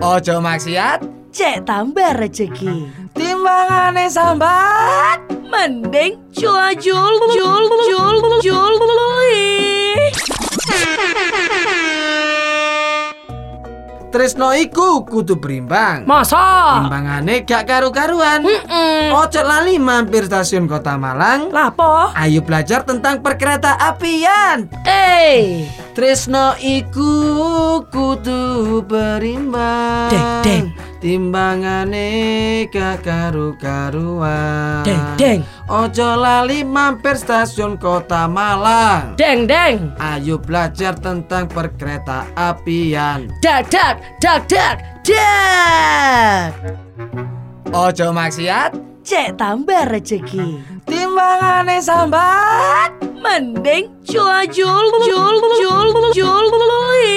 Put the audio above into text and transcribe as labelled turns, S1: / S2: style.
S1: Ojo maksiat,
S2: Cek tambah rezeki.
S1: timbangane sambat.
S2: Mending cula jul jul jul jul juli.
S1: Tresno iku kudu berimbang.
S2: Masa?
S1: Timbangane gak karu-karuan. Ojo lali mampir stasiun Kota Malang.
S2: Lapo?
S1: Ayo belajar tentang perkereta apian.
S2: Eh,
S1: Tresno iku kudu berimbang.
S2: Deng, deng.
S1: Timbangane gak karu-karuan.
S2: Deng, deng.
S1: Ojo lali mampir stasiun Kota Malang.
S2: deng deng.
S1: Ayo belajar tentang perkereta apian
S2: Dak dak dak dak dak.
S1: Ojo maksiat
S2: Cek tambah rezeki.
S1: Timbangane sambat
S2: Mending cula jul jul jul jul juli.